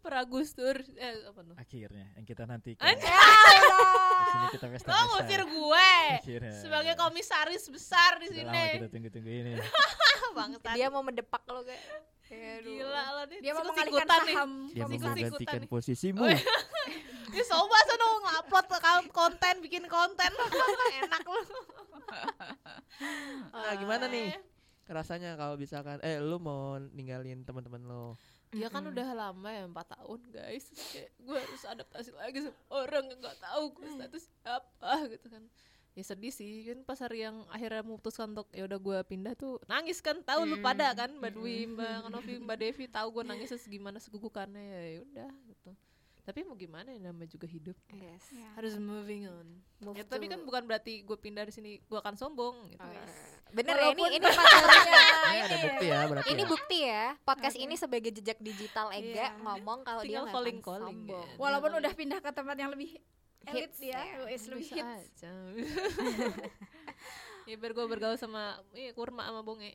S2: per Agustur eh apa tuh
S6: Akhirnya yang kita nantikan.
S3: Ya
S2: Anjay.
S6: Di sini kita pesta.
S2: lo ngusir gue
S1: Iya.
S6: Akhirnya.
S2: sebagai komisaris besar di
S6: Sudah
S2: sini
S6: lama kita tunggu-tunggu ini.
S2: bangsat
S3: Dia mau mendepak lo kayak.
S2: gila lo nih
S4: Dia mau
S2: Ikut
S4: mengalihkan
S2: ikutan Oh, iya. nih.
S4: saham.
S1: Dia mau
S2: Ikut-ikutan
S1: menggantikan
S2: nih.
S1: posisimu.
S5: Ini coba sono ngupload ke- konten, bikin konten. Enak lu.
S1: Nah, gimana nih
S2: Eh,
S1: rasanya kalau misalkan eh lu mau ninggalin teman-teman lo?
S2: Dia kan
S3: Mm-mm.
S2: udah lama ya 4 tahun guys Terus kayak gue harus adaptasi lagi sama orang yang gak tahu gue status apa gitu kan Ya sedih sih kan pas hari yang akhirnya memutuskan untuk ya udah gue pindah tuh nangis kan tahu lu
S3: Mm.
S2: pada kan Mbak Dwi,
S3: Mm-mm.
S2: Mbak Novi, Mbak Devi tahu gue nangisnya segimana segugukannya ya udah gitu. Tapi mau gimana ya namanya juga hidup
S3: Yes.
S4: Ya.
S2: harus moving on.
S3: Move
S2: Ya, tapi
S3: to-
S2: kan bukan berarti gue pindah di sini gue akan sombong gitu.
S3: Oh, Bener ya ini
S2: Walaupun-
S3: ini pacarnya.
S1: Ini ada bukti ya berarti.
S3: ini
S1: ya.
S3: bukti ya. Podcast ini sebagai jejak digital Ega
S4: Iya.
S3: ngomong kalau
S2: Tinggal
S3: dia nggak akan
S2: calling-calling
S3: sombong.
S2: ya.
S4: Walaupun
S2: Dia
S4: udah pindah ke tempat yang lebih elit
S3: Hits,
S4: dia,
S3: ya.
S4: wes lebih
S2: Bisa
S4: hits.
S2: aja. ya biar gue bergaul sama iya, kurma sama bonge.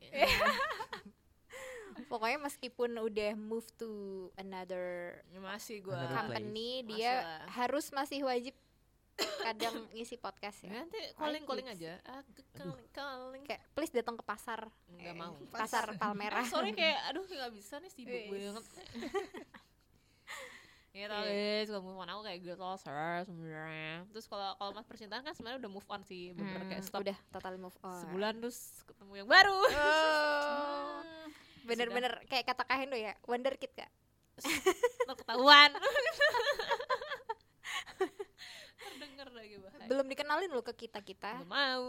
S3: Pokoknya meskipun udah move to another
S2: Ya, masih gue.
S1: Another place.
S3: company,
S2: Masih
S3: dia
S2: lah.
S3: harus masih wajib kadang ngisi podcast ya.
S2: Nanti calling calling
S3: Wajib
S2: aja. Ah, calling calling.
S3: Kayak please datang ke pasar.
S2: Nggak
S3: Eh,
S2: mau.
S3: Pasar Palmerah.
S2: Ah, sorry kayak aduh nggak bisa nih sibuk
S4: Wis.
S2: banget. Gitu
S3: Iya.
S2: guys, kalau move on aku kayak gitu loser sebenarnya. Terus kalau kalau mas percintaan kan sebenarnya udah move on sih, bener
S3: Hmm,
S2: kayak stop
S3: udah total move on.
S2: sebulan terus ketemu yang baru.
S3: Oh. Bener-bener kayak kata Kak Hendo ya, wonderkid Kak.
S2: Ntar ketahuan. Terdengar lagi bahaya.
S3: Belum dikenalin loh ke kita-kita.
S2: Nggak mau.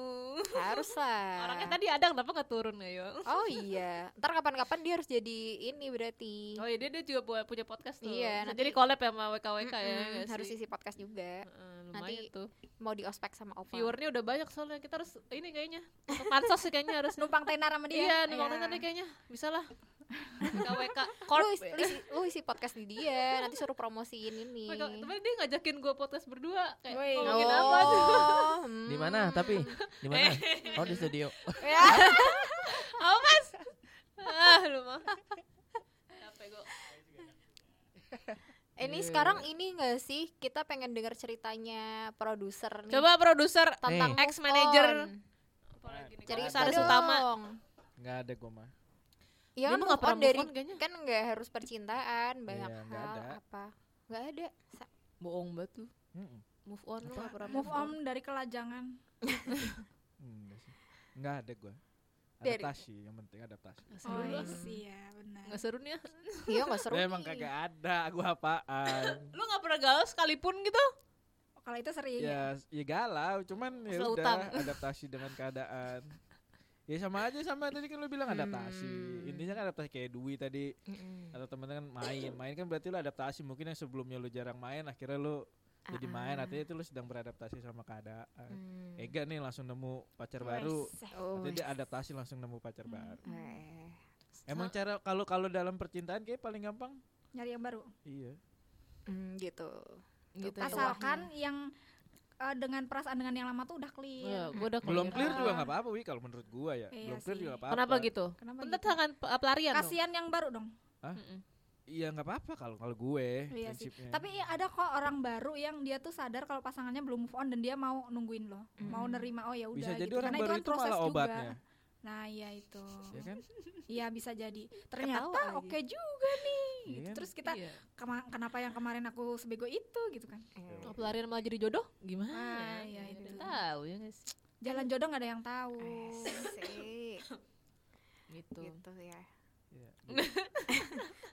S3: Harus lah.
S2: Orangnya tadi ada kenapa nggak turun ya, ayo?
S3: Oh iya, ntar kapan-kapan dia harus jadi ini berarti.
S2: Oh iya dia, dia juga buat- punya podcast tuh. Bisa
S3: Iya, nanti-
S2: jadi collab ya sama WKWK ya.
S3: Mm-mm,
S2: nggak
S3: harus
S2: sih?
S3: isi podcast juga.
S2: Heeh,
S3: nanti
S2: lumayan tuh.
S3: Mau di ospek sama Opa.
S2: Viewernya udah banyak soalnya kita harus ini kayaknya. Untuk pansos sih kayaknya harus
S4: Numpang tenar sama dia.
S2: Iya, numpang
S3: Iya.
S2: tenda deh kayaknya. Bisa lah. KWK Corp.
S3: Lu, is-
S2: ya.
S3: lu isi, lu isi podcast di dia, nanti suruh promosiin ini.
S2: WKWK. Tapi dia ngajakin gue podcast berdua kayak
S4: Woi.
S2: ngomongin
S3: Oh.
S2: apa Eh, tuh.
S3: hmm. Eh.
S1: Di mana tapi? Di mana? Oh di studio.
S2: Ya. Ah, lu mah. Capek gue.
S3: Ini sekarang ini gak sih kita pengen denger ceritanya produser nih
S2: Coba produser
S3: tentang
S1: Nih.
S3: move
S2: Ex-manager.
S3: on.
S2: apalagi nih,
S3: Cerita
S2: komisaris
S3: dong.
S2: utama.
S6: Nggak ada gue mah.
S2: Dia
S3: Ya kan
S2: mah
S3: move
S2: nggak
S3: on
S2: pernah
S3: dari
S2: move on kayaknya.
S3: kan nggak harus percintaan, banyak
S6: Iya, nggak
S3: hal
S6: ada.
S3: apa. Gak ada. Sa-
S2: Bohong banget lu.
S6: Mm-mm.
S2: Move on lu nggak
S3: Oh,
S2: pernah
S4: Move on dari kelajangan.
S6: Hmm, Nggak sih. Nggak ada gue.
S3: Dari-
S6: Adaptasi yang penting adaptasi.
S2: Nggak seru
S4: Oh
S2: lu.
S4: iya, benar.
S2: Nggak seru nih ya.
S3: Iya gak seru.
S6: Ya, emang
S3: nih.
S6: kagak ada. Gue apaan?
S2: Lu nggak pernah galau sekalipun gitu.
S4: Kalau itu sering ya.
S6: ya, ya galau. Cuman ya
S2: Selalu utang.
S6: udah adaptasi dengan keadaan. Ya sama aja sama tadi kan lu bilang adaptasi.
S3: Hmm.
S6: Intinya kan adaptasi kayak Dwi tadi
S3: Mm-mm.
S6: atau temen-temen main. Main kan berarti lu adaptasi. Mungkin yang sebelumnya lu jarang main akhirnya lu jadi
S3: Ah,
S6: main
S3: ah.
S6: artinya itu lu sedang beradaptasi sama keadaan.
S3: Hmm.
S6: Ega nih langsung nemu pacar baru.
S4: Wes.
S3: Oh,
S6: Jadi dia adaptasi langsung nemu pacar
S4: Hmm.
S6: baru.
S3: eh.
S6: Emang cara kalau kalau dalam percintaan kayak paling gampang?
S4: Nyari yang baru.
S6: Iya.
S3: Hmm, gitu.
S2: Gitu.
S3: Asal-
S2: Asal.
S4: Asalkan yang eh, dengan perasaan dengan yang lama tuh udah clear.
S2: gue udah
S6: Belum clear juga
S4: Ah.
S6: nggak apa-apa, Wi, kalau menurut gua ya.
S4: Iya
S6: Belum clear
S4: sih.
S6: juga nggak apa-apa.
S2: Kenapa gitu?
S4: Kenapa
S2: Bentar
S4: gitu?
S2: tangan pe- pelarian dong.
S4: Kasihan yang baru dong.
S2: Mm-mm.
S6: Iya, nggak apa-apa kalau kalau gue
S4: Iya sih.
S6: prinsipnya.
S4: Tapi ya ada kok orang baru yang dia tuh sadar kalau pasangannya belum move on dan dia mau nungguin loh,
S2: Hmm.
S4: mau nerima oh ya udah
S6: bisa jadi
S4: gitu.
S6: orang
S4: Karena
S6: baru
S4: kan
S6: itu malah
S4: juga.
S6: obatnya.
S4: Nah, iya itu.
S6: Ya kan?
S4: Iya bisa jadi. Ternyata
S3: Ketawa
S4: oke juga nih.
S6: Iya
S4: gitu.
S6: kan?
S4: Terus kita
S2: Iya.
S4: kema- kenapa yang kemarin aku sebego itu gitu kan?
S3: Eh.
S2: Kalau pelarian malah jadi jodoh gimana?
S4: Ah, iya,
S2: Ya,
S4: itu.
S2: udah Tahu ya guys.
S4: Jalan jodoh nggak ada yang tahu.
S3: Eh, Asik,
S2: Gitu.
S3: gitu ya.
S6: Iya.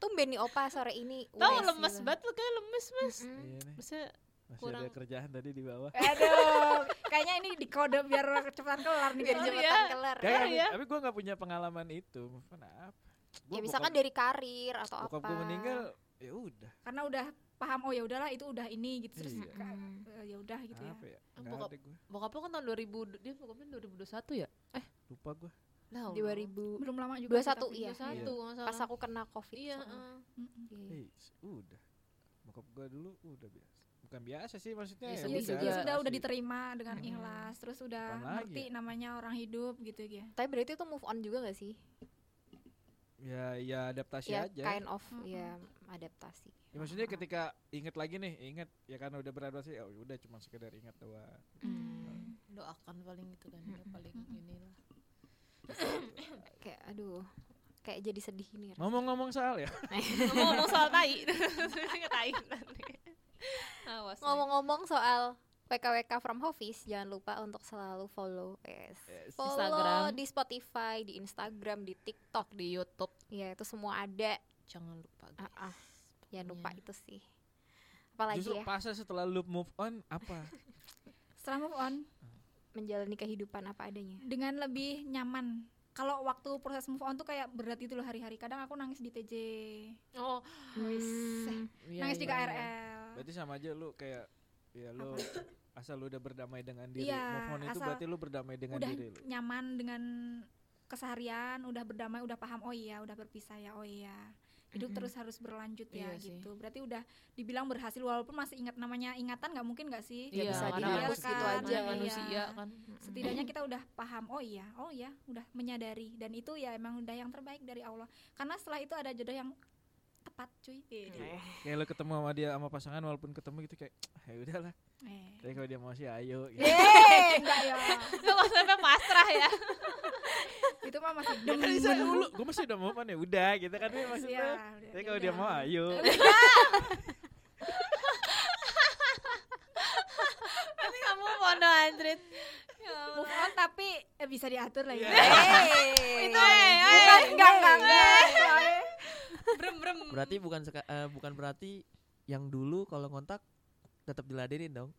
S3: Tumben nih Opa sore ini.
S2: Tahu
S3: wes
S2: lemes
S3: gitu. Mm.
S2: banget lu kayak lemes mas.
S3: Mm-mm.
S6: Iya nih.
S2: Maksudnya
S6: Masih ada
S2: kurang-
S6: kerjaan tadi di bawah.
S4: Aduh, kayaknya ini dikode biar cepetan kelar nih.
S3: Biar
S4: kayaknya.
S2: jam-
S3: jembatan kelar.
S6: Kayak
S2: Iya, iya.
S6: tapi, tapi gue nggak punya pengalaman itu. Move on apa?
S3: Ya misalkan dari karir atau apa.
S6: bokap gue meninggal, ya udah.
S4: Karena udah paham oh ya udahlah itu udah ini gitu terus
S6: Iya.
S4: ka- eh, ya udah gitu ya.
S6: apa ya? Nggak
S2: bokap-
S6: ada gue.
S2: bokap lu kan tahun 2000 dia bokapnya 2021 ya?
S6: Lupa gue.
S2: Lah.
S3: Di 2000
S4: Belum lama juga. sih,
S3: 21
S4: tapi.
S3: iya.
S2: satu masalah.
S3: Pas aku kena Covid.
S2: iya.
S3: soalnya.
S2: eh.
S4: Mm-mm.
S3: Iya.
S6: Eh, s- udah. Bokap gue dulu udah biasa. Bukan biasa sih maksudnya
S2: Ya,
S6: ya,
S2: sedih
S4: Iya
S6: udah,
S4: sudah,
S2: juga.
S4: sudah udah
S6: asik.
S4: diterima dengan
S3: Mm.
S4: ikhlas, terus udah
S6: Kapan lagi
S4: ngerti namanya orang hidup gitu ya.
S3: Tapi berarti itu move on juga gak sih?
S6: Ya ya adaptasi
S3: ya
S6: aja.
S3: kind of
S4: Mm-mm.
S3: ya adaptasi.
S6: Ya, maksudnya ketika inget lagi nih, inget ya karena udah beradaptasi, oh udah cuma sekedar inget doang.
S4: Mm.
S2: Doakan paling gitu kan ya, paling
S4: Mm-mm.
S2: inilah.
S3: kayak aduh. Kayak jadi sedih ini.
S6: Ngomong-ngomong soal ya,
S2: Ngomong-ngomong soal tai. Ingat tai nanti. Awas. Ngomong.
S3: Ngomong-ngomong soal WKWK from Office, jangan lupa untuk selalu follow yes.
S1: Yes.
S3: Follow
S2: Instagram.
S3: di Spotify, di Instagram, di TikTok,
S2: Di YouTube
S3: ya itu semua ada.
S2: jangan lupa. guys.
S3: Ah, ah. Jangan lupa
S2: Pokoknya.
S3: itu sih. Apalagi
S6: Justru
S3: ya
S6: pasnya setelah lu move on apa?
S4: Setelah move on
S3: menjalani kehidupan apa adanya.
S4: dengan lebih nyaman. Kalau waktu proses move on tuh kayak berat gitu loh hari-hari. Kadang aku nangis di TJ,
S2: Oh,
S3: Hmm,
S4: nangis di
S6: iya.
S4: KRL.
S6: Berarti sama aja lu kayak ya lu asal lu udah berdamai dengan diri.
S4: Iya,
S6: move on itu
S4: asal
S6: berarti lu berdamai dengan
S4: Udah
S6: diri lu.
S4: nyaman dengan keseharian, udah berdamai, udah paham. Oh iya, udah berpisah ya. Oh iya. Hidup
S2: Mm-mm.
S4: terus harus berlanjut ya
S2: Iya sih.
S4: gitu. Berarti udah dibilang berhasil walaupun masih ingat namanya ingatan nggak mungkin nggak sih?
S3: Ya, bisa
S2: Iya, karena
S3: dihapus
S2: manusia-
S3: gitu aja.
S2: karena manusia
S4: Iya.
S2: kan.
S4: setidaknya kita udah paham oh iya oh iya udah menyadari dan itu ya emang udah yang terbaik dari Allah karena setelah itu ada jodoh yang tepat cuy
S2: Iya.
S4: eh.
S6: Kayak lu ketemu sama dia sama pasangan walaupun ketemu gitu kayak ya udahlah. Tapi kalau dia masih ayo gitu.
S4: Eh, enggak ya
S2: Gak usah sampai pasrah ya.
S4: itu mah masih Iya,
S6: Ya kan bisa
S4: demen.
S6: dulu, gue masih udah move on ya udah gitu kan dia
S4: Ya,
S6: maksudnya.
S4: udah,
S6: Tapi
S4: ya
S6: kalau dia
S4: udah.
S6: mau ayo.
S2: Nanti kamu mono anjrit. Ya
S4: move on tapi eh, bisa diatur lah ya
S2: Itu eh, eh,
S4: enggak enggak enggak
S2: brem brem.
S1: Berarti bukan seka- eh, bukan berarti yang dulu kalau kontak tetap diladenin dong.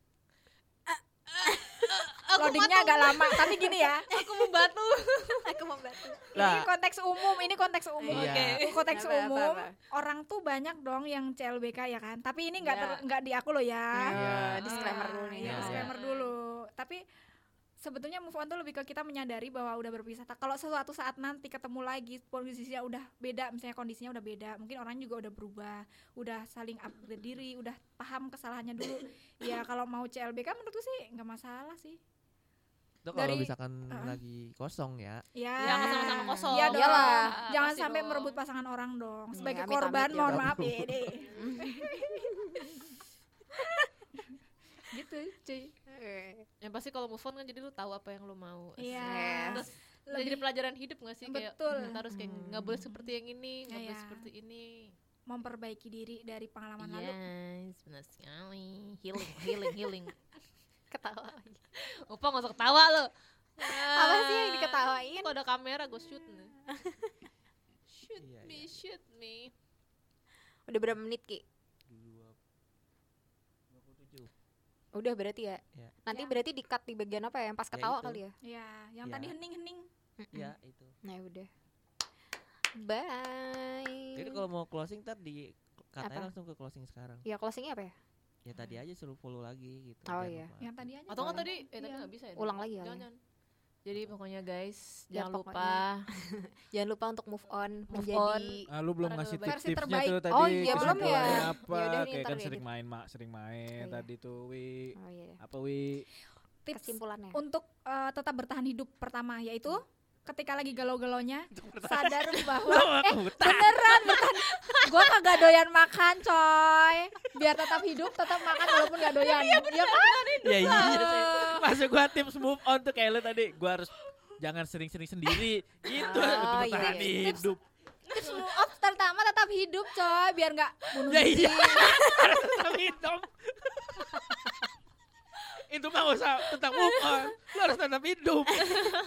S4: loadingnya agak lama tapi gini ya
S2: aku mau batu.
S3: Aku membantu.
S4: ini
S1: Lah,
S4: konteks umum ini konteks umum
S1: Iya.
S2: Oke.
S3: Apa,
S4: konteks
S3: apa,
S4: umum
S3: apa? Iya.
S4: orang tuh banyak dong yang CLBK ya kan tapi ini nggak
S2: Iya.
S4: ter- nggak di aku loh
S3: Iya.
S4: ya
S1: Ya.
S3: Ah, disclaimer dulu nih.
S4: Iya,
S1: Ya,
S4: disclaimer
S2: ya.
S4: dulu. Tapi sebetulnya move on tuh lebih ke kita menyadari bahwa udah berpisah. Ta- Kalau suatu saat nanti ketemu lagi posisinya udah beda, misalnya kondisinya udah beda, mungkin orangnya juga udah berubah, udah saling upgrade diri, udah paham kesalahannya dulu. ya kalau mau CLBK menurutku sih nggak masalah sih.
S1: itu kalau
S4: dari-
S1: misalkan
S3: Ah.
S4: Heeh.
S1: lagi kosong ya.
S4: Ya.
S2: Jangan sama-sama kosong.
S4: Iya dong.
S3: Iyalah.
S4: Jangan
S2: Pasti
S4: sampai
S2: dong.
S4: merebut pasangan orang dong.
S3: Iya,
S4: Sebagai
S3: amit-amit
S4: korban
S3: ya.
S4: mohon
S1: Tabu.
S4: maaf ya. deh. gitu, cuy.
S3: Eh.
S2: Yang pasti kalau move on kan jadi lu tahu apa yang lu mau.
S4: Iya.
S2: Terus Udah
S4: Lebih
S2: jadi pelajaran hidup gak sih kayak
S4: Betul.
S2: kita harus kayak nggak boleh seperti yang ini, nggak
S4: Iya.
S2: boleh seperti ini.
S4: memperbaiki diri dari pengalaman
S2: Iya.
S4: lalu.
S2: Yes, benar sekali. Healing, healing, healing.
S3: Ketawa lagi.
S2: Opa nggak usah ketawa lo.
S3: Apa sih yang diketawain?
S2: Kok ada kamera gue shoot nih. shoot
S1: Iya,
S2: me,
S1: iya.
S2: shoot me.
S3: Udah berapa menit, Ki? Udah berarti ya.
S1: Ya.
S3: Nanti
S4: Ya.
S3: berarti di-cut di bagian apa ya? Yang pas
S1: Ya,
S3: ketawa
S1: itu.
S3: kali ya?
S4: Ya, yang
S1: Ya.
S4: tadi hening-hening.
S1: Iya, itu.
S3: Nah, udah. Bye.
S1: Jadi kalau mau closing tadi
S3: Apa?
S1: katanya langsung ke closing sekarang.
S3: ya closingnya apa ya?
S1: Ya tadi aja suruh follow lagi gitu.
S3: Oh,
S1: jangan
S3: iya.
S1: lupa.
S4: Yang tadi aja.
S2: Atau nggak
S4: Boleh.
S2: tadi? Eh tapi
S4: Iya.
S2: nggak bisa ya.
S3: Ulang lagi kali
S2: Jangan,
S3: ya.
S2: jangan. Jadi pokoknya guys,
S3: Ya,
S2: jangan
S3: pokoknya
S2: lupa
S3: Jangan lupa untuk move on
S2: Move
S3: menjadi
S6: Ah, lu belum
S2: Para
S6: ngasih
S2: versi
S6: tips-tipsnya
S4: terbaik.
S6: tuh tadi
S3: Oh, iya, belum ya.
S6: kesimpulannya apa
S3: Yaudah, ini
S6: kayak
S3: ntar
S6: kan
S3: ya,
S6: sering
S3: gitu.
S6: main mak sering main
S3: iya.
S6: tadi tuh wi
S3: Oh iya. iya.
S6: apa wi
S4: tips
S3: Kesimpulannya.
S4: untuk eh, tetap bertahan hidup pertama yaitu ketika lagi galau-galaunya sadar bahwa eh beneran bertahan gue kagak doyan makan coy biar tetap hidup tetap makan walaupun gak doyan
S2: Iya,
S4: ya kan
S6: ya iya sih masuk gua tips move on tuh kayak lu tadi gua harus jangan sering-sering sendiri gitu
S3: Oh,
S6: untuk
S3: iya,
S6: bertahan
S3: iya.
S6: hidup
S4: tips move on pertama tetap hidup coy biar gak bunuh
S6: ya
S4: diri
S6: iya harus tetap hidup itu mah gak usah tentang move on lu harus tetap hidup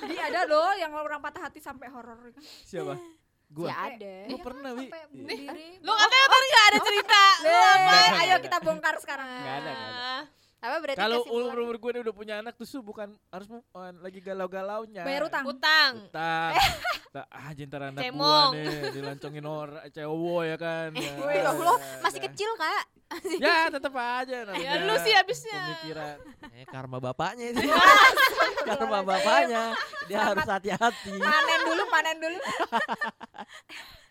S4: jadi ada loh yang orang patah hati sampai horor kan
S6: siapa
S3: Ya
S6: gua
S3: ada.
S6: gua pernah wi Iya.
S4: sampai bunuh diri
S2: Lu katanya tadi gak ada cerita
S4: Weh,
S6: enggak,
S4: ayo
S6: enggak.
S4: kita bongkar sekarang
S6: Enggak ada, enggak ada.
S3: Apa berarti
S6: Kalau
S3: kesimpulan?
S6: umur umur gue udah punya anak tuh su bukan harus move on lagi galau galaunya.
S4: bayar utang
S2: Utang
S6: Utang. Ta- ah jentar anak
S2: Cemong.
S6: gua nih dilancongin orang cowok ya kan. Ya,
S3: Wih, loh, loh,
S1: Iya.
S3: masih kecil, Kak.
S6: Ya tetep aja namanya.
S2: Ya lu sih habisnya
S6: Pemikiran.
S1: Eh, karma bapaknya itu. karma bapaknya. Dia harus hati-hati.
S4: panen dulu panen dulu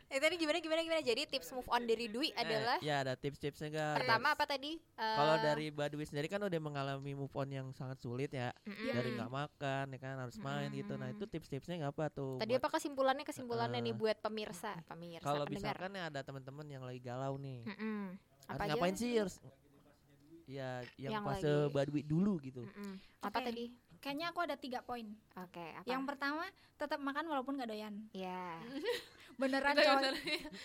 S3: Eh tadi gimana gimana gimana. Jadi tips move on dari Dwi
S1: Eh,
S3: adalah
S1: ya ada tips-tipsnya enggak?
S3: pertama apa tadi? Eh,
S1: Kalau dari Mbak Dwi sendiri kan udah mengalami move on yang sangat sulit ya.
S4: Iya.
S3: mm-mm.
S2: mm.
S1: Dari nggak makan ya kan harus main gitu. Nah,
S3: Mm-mm.
S1: itu tips-tipsnya nggak apa tuh?
S3: Tadi
S1: buat-
S3: apa kesimpulannya? Kesimpulannya nih
S1: Eh,
S3: buat pemirsa, pemirsa
S1: Kalau
S3: pendengar.
S1: misalkan ya ada teman-teman yang lagi galau nih.
S4: Mm,
S3: Mm-mm.
S1: Harus
S3: Apa aja?
S1: ngapain sih? Harus Ya, yang,
S3: Yang
S1: fase
S3: lagi-
S1: Mbak Dwi dulu gitu.
S4: Mm.
S3: Mm-mm. Apa
S4: Oke.
S3: tadi?
S4: kayaknya aku ada tiga poin
S3: Oke, apa?
S4: yang pertama tetap makan walaupun gak doyan
S3: ya.
S4: beneran
S2: Bentar,
S4: coy
S2: bentar.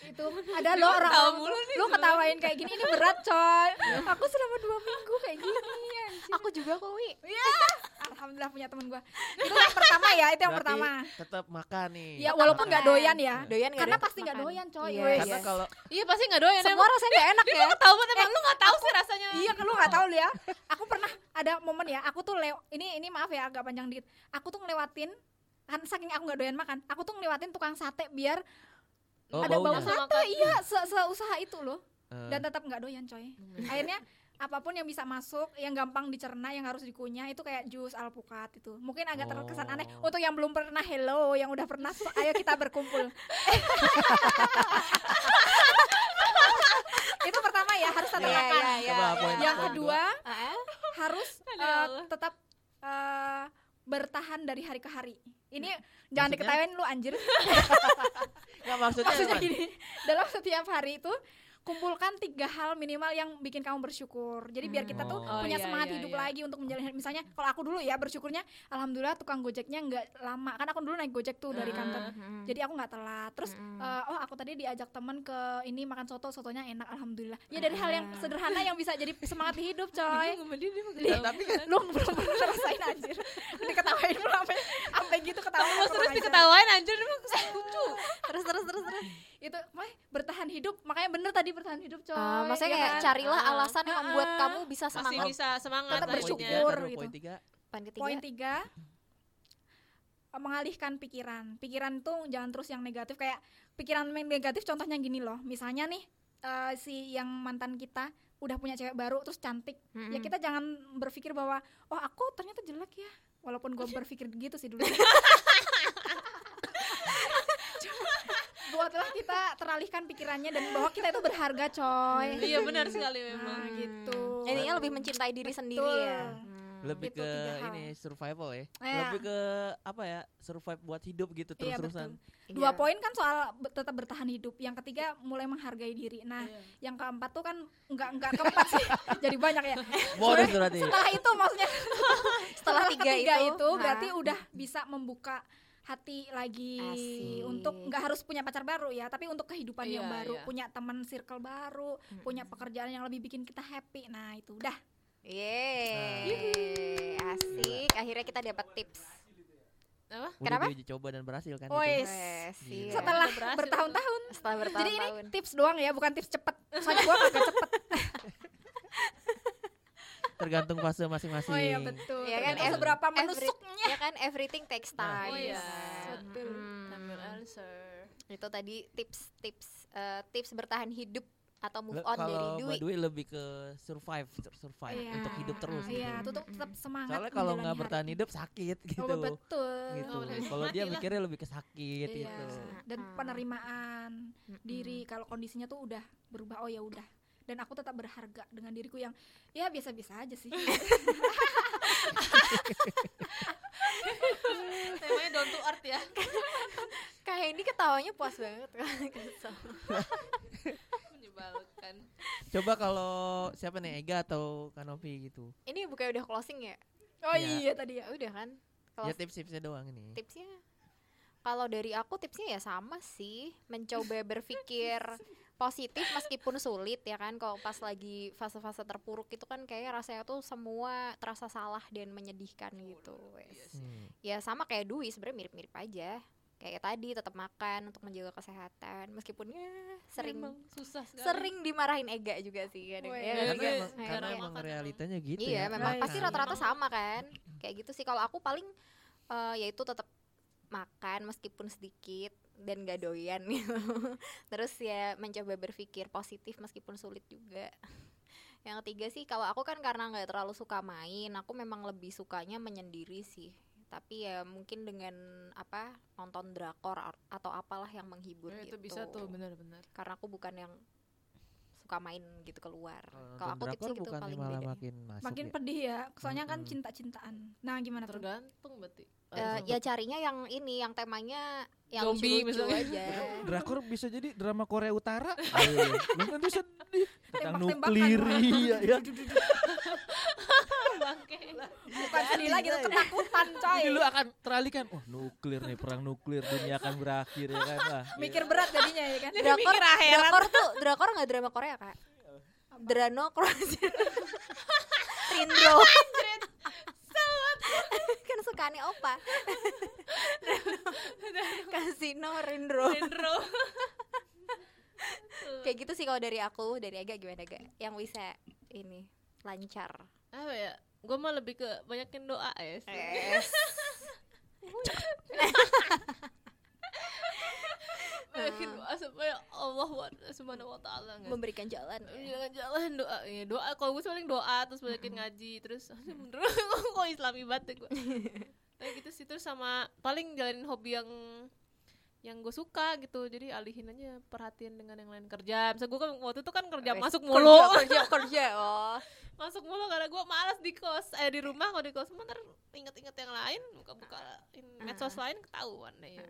S4: itu ada lo
S2: Gua
S4: orang
S2: ketawa
S4: orang
S2: mulu nih
S4: lo
S2: sebenarnya. Iya.
S4: ketawain kayak gini ini berat coy aku selama dua minggu kayak gini anjir.
S3: Aku juga kok, Wi.
S4: Ah, alhamdulillah punya temen gua itu yang pertama ya itu yang pertama
S1: tetap makan nih
S4: ya walaupun nggak ya. doyan ya
S3: Ah, Doyan nggak
S4: karena
S3: doyan
S4: pasti nggak
S3: makan.
S4: doyan coy
S3: Iya.
S4: wes.
S1: karena kalau
S2: Iya pasti nggak doyan
S3: Semua rasanya nggak enak ya.
S2: tahu emang lu nggak tahu sih rasanya.
S4: Iya, kan lu nggak tahu lu ya. Aku pernah ada momen ya, aku tuh lew ini ini maaf ya agak panjang dikit. Aku tuh ngelewatin kan saking aku nggak doyan makan, aku tuh ngelewatin tukang sate biar
S1: oh,
S4: ada bau
S1: baunya.
S2: sate.
S4: sate.
S2: makan.
S4: Iya, se seusaha itu loh.
S1: Eh, Hmm.
S4: Dan tetap nggak doyan, coy. Akhirnya apapun yang bisa masuk, yang gampang dicerna, yang harus dikunyah itu kayak jus alpukat itu. Mungkin agak terkesan aneh
S1: Oh.
S4: untuk yang belum pernah hello, yang udah pernah so- ayo kita berkumpul. itu pertama ya harus tetap
S3: Iya,
S4: makan.
S3: iya, iya,
S1: Coba
S3: iya.
S1: poin
S4: Yang
S1: Poin
S4: kedua
S3: Ah,
S4: harus
S2: Aduh,
S4: eh,
S2: ya Allah.
S4: tetap eh, bertahan dari hari ke hari. Ini jangan
S1: Hmm. Maksudnya?
S4: diketawain lu anjir.
S1: nggak maksudnya,
S4: Maksudnya
S1: Wan.
S4: gini, dalam setiap hari itu kumpulkan tiga hal minimal yang bikin kamu bersyukur. Jadi biar kita tuh
S1: Oh.
S2: Oh, iya,
S4: punya
S2: iya,
S4: semangat hidup
S2: iya.
S4: lagi untuk menjalani misalnya kalau aku dulu ya bersyukurnya alhamdulillah tukang gojeknya nggak lama. Kan aku dulu naik gojek tuh dari
S2: Ah.
S4: kantor.
S3: mm.
S4: Jadi aku nggak telat. Terus
S2: Hmm.
S3: Mm-mm.
S4: eh, oh aku tadi diajak teman ke ini makan soto, sotonya enak alhamdulillah. Ya dari hal
S2: Hmm.
S4: yang sederhana yang bisa jadi semangat hidup, coy
S2: Bingung sama dia, dia mau
S1: Nah,
S2: ketawa.
S1: tapi kan
S4: lu belum pernah ngerasain anjir diketawain lu sampai sampai gitu ketawain
S2: Terus terus diketawain anjir dia mau kesel lucu.
S3: Terus terus terus terus.
S4: itu mah bertahan hidup makanya bener tadi bertahan hidup coy
S3: Ah, maksudnya
S4: ya
S3: kayak
S4: kan?
S3: carilah
S2: Ah.
S3: alasan yang membuat
S2: Ah.
S3: kamu bisa
S2: Masih
S3: semangat.
S2: bisa semangat
S4: Tetap
S1: poin tiga,
S4: bersyukur
S1: taruh
S4: gitu.
S1: poin tiga.
S3: Poin ketiga.
S4: poin tiga eh, mengalihkan pikiran pikiran tuh jangan terus yang negatif kayak pikiran yang negatif contohnya gini loh misalnya nih eh, si yang mantan kita udah punya cewek baru terus cantik
S3: Mm-mm.
S4: ya kita jangan berpikir bahwa oh aku ternyata jelek ya walaupun gue berpikir gitu sih dulu Cuma buatlah kita teralihkan pikirannya dan bahwa kita itu berharga coy
S2: Iya benar sekali memang.
S4: nah, gitu
S3: Intinya lebih mencintai diri sendiri ya. Hmm.
S1: lebih
S4: Gitu,
S1: ke
S4: tiga hal.
S1: ini survival ya
S4: Iya.
S1: lebih ke apa ya survive buat hidup gitu
S4: Iya,
S1: terus-terusan
S3: Iya.
S4: dua poin kan soal be- tetap bertahan hidup yang ketiga mulai menghargai diri nah yang keempat tuh kan nggak nggak keempat sih jadi banyak ya
S1: bonus berarti
S4: setelah itu maksudnya
S3: Setelah tiga
S4: ketiga
S3: itu, nah.
S4: itu
S3: ha.
S4: berarti udah bisa membuka hati lagi
S3: Asik.
S4: untuk nggak harus punya pacar baru ya tapi untuk kehidupan yang
S2: Iya,
S4: baru
S2: iya.
S4: punya teman circle baru punya pekerjaan yang lebih bikin kita happy nah itu udah
S3: Yeay, asik. Akhirnya kita dapat tips.
S2: Apa?
S1: Udah
S3: Kenapa?
S1: diuji coba dan berhasil
S4: Wes.
S1: kan itu.
S3: Wes,
S1: Gila.
S3: iya.
S4: setelah
S2: Udah berhasil.
S4: bertahun-tahun
S3: setelah
S4: jadi ini
S3: bertahun-tahun.
S4: tips doang ya bukan tips cepet soalnya gua kagak cepet
S1: tergantung fase masing-masing
S4: oh iya betul
S3: Iya kan,
S4: Tergantung
S3: every-
S4: seberapa
S3: every-
S4: menusuknya
S3: Ya kan everything takes time.
S2: Oh iya.
S3: kan.
S4: Betul.
S3: Mm.
S2: Time will answer.
S3: Itu tadi tips-tips eh, tips bertahan hidup atau move
S1: Le-
S3: on dari
S1: kalau
S3: Dwi.
S1: Mbak Dwi lebih ke survive sur- survive
S4: Iya.
S1: untuk hidup terus
S3: gitu.
S4: iya tutup tetap semangat
S1: soalnya kalau nggak
S4: menjalani
S1: bertahan
S4: hari.
S1: hidup sakit gitu
S4: oh, betul
S1: gitu
S2: Oh, bener.
S1: kalau dia
S2: Matilah.
S1: mikirnya lebih ke sakit
S4: Iya.
S1: gitu Hmm.
S4: dan
S3: Mm-mm.
S4: penerimaan
S3: Mm-mm.
S4: diri kalau kondisinya tuh udah berubah oh ya udah dan aku tetap berharga dengan diriku yang ya biasa-biasa aja sih
S2: Temanya down to earth ya.
S3: Kayak ini ketawanya puas banget. kan,
S2: Menyebalkan.
S1: coba kalau siapa nih Ega atau Kanopi gitu
S3: ini bukannya udah closing ya?
S4: oh iya
S1: Iya.
S4: tadi ya
S3: Ya udah kan. Kalau
S1: ya tips-tipsnya doang ini
S3: tipsnya kalau dari aku tipsnya ya sama sih mencoba berpikir positif meskipun sulit ya kan kalau pas lagi fase-fase terpuruk itu kan kayaknya rasanya tuh semua terasa salah dan menyedihkan gitu
S2: iya
S3: wes.
S1: Hmm.
S3: ya sama kayak Dwi sebenarnya mirip-mirip aja kayak tadi tetap makan untuk menjaga kesehatan meskipun ya sering
S2: Memang susah sekali.
S3: sering dimarahin Ega juga sih kadang
S4: Weh.
S3: ya
S2: Iya,
S3: nggak
S1: karena
S3: sih?
S2: iya.
S1: emang,
S3: Kayak-
S1: karena
S3: kayak-
S1: emang
S2: makan.
S1: realitanya gitu
S3: iya
S1: ya
S3: memang
S1: Makan.
S3: pasti rata-rata sama kan kayak gitu sih kalau aku paling eh, ya yaitu tetap makan meskipun sedikit dan gak doyan gitu terus ya mencoba berpikir positif meskipun sulit juga yang ketiga sih kalau aku kan karena nggak terlalu suka main aku memang lebih sukanya menyendiri sih tapi ya mungkin dengan apa nonton drakor ar- atau apalah yang menghibur
S2: Nah, itu
S3: gitu
S2: bisa tuh benar-benar.
S3: karena aku bukan yang suka main gitu keluar
S1: kalau
S3: kalau aku tipsnya gitu
S1: Eh, bukan
S3: paling
S1: malah
S3: beda
S1: makin masuk
S4: makin
S1: ya.
S4: pedih ya soalnya kan
S1: Mm-mm.
S4: cinta-cintaan nah gimana tuh
S2: Tergantung berarti.
S3: Eh,
S2: Langsung.
S3: ya carinya yang ini yang temanya yang
S2: Zombie
S3: lucu,
S2: misalnya.
S3: aja.
S6: Drakor bisa jadi drama Korea Utara.
S1: Aduh,
S6: Iya. Lu kan dia sedih
S1: iya.
S6: tentang
S4: Tembak-tembakan.
S6: nuklir iya, ya.
S2: bangke.
S4: bukan sedih lagi itu ketakutan coy
S1: Dulu akan teralihkan. Oh, nuklir nih, perang nuklir dunia akan berakhir ya kan. Wah,
S2: Iya.
S4: mikir berat jadinya ya kan
S3: Drakor, drakor tuh drakor nggak drama Korea kak? Drano Kroasia. Rindro. kan sukaannya opa. Drano. Kasino Rindro.
S2: Hendro.
S3: Kayak gitu sih kalau dari aku, dari Aga gimana Aga? Yang bisa ini lancar.
S2: Apa ya? Gue mah lebih ke banyakin doa ya. sih.
S3: Eh.
S2: Banyakin doa supaya Allah wa- subhanahu wa ta'ala nggak sih?
S3: Memberikan jalan. ya.
S2: jangan Iya, jalan doa ya doa kalau gue sih paling doa terus banyakin ngaji terus bener kok islami banget gue tapi gitu sih terus sama paling jalanin hobi yang yang gue suka gitu jadi alihin aja perhatian dengan yang lain kerja misal gue kan waktu itu kan kerja
S3: Wes,
S2: masuk mulu
S3: Kerja kerja. Oh.
S2: masuk mulu karena gue malas di kos eh di rumah kalau di kos mah ntar inget-inget yang lain buka-buka in-
S3: Ah.
S2: medsos lain ketahuan deh ya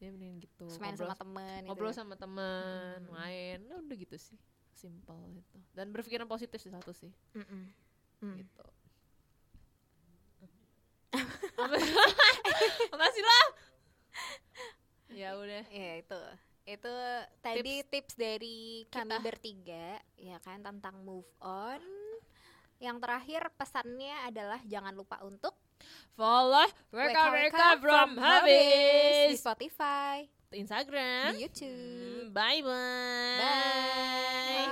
S2: dia mending gitu
S3: Terus main
S2: ngobrol
S3: Nah, sama temen gitu
S2: ngobrol
S3: ya.
S2: sama teman
S3: Mm.
S2: main ya udah gitu sih simple gitu dan berpikiran positif sih satu sih
S3: Mm-mm. Mm.
S2: gitu apa apa sih lah ya udah
S3: Ya itu itu tadi tips, dari kami bertiga ya kan tentang move on. Yang terakhir pesannya adalah jangan lupa untuk
S2: follow Reka Reka from
S3: di
S2: Habis
S3: Spotify,
S2: Instagram Hmm,
S3: di YouTube.
S2: bye bye
S3: Bye.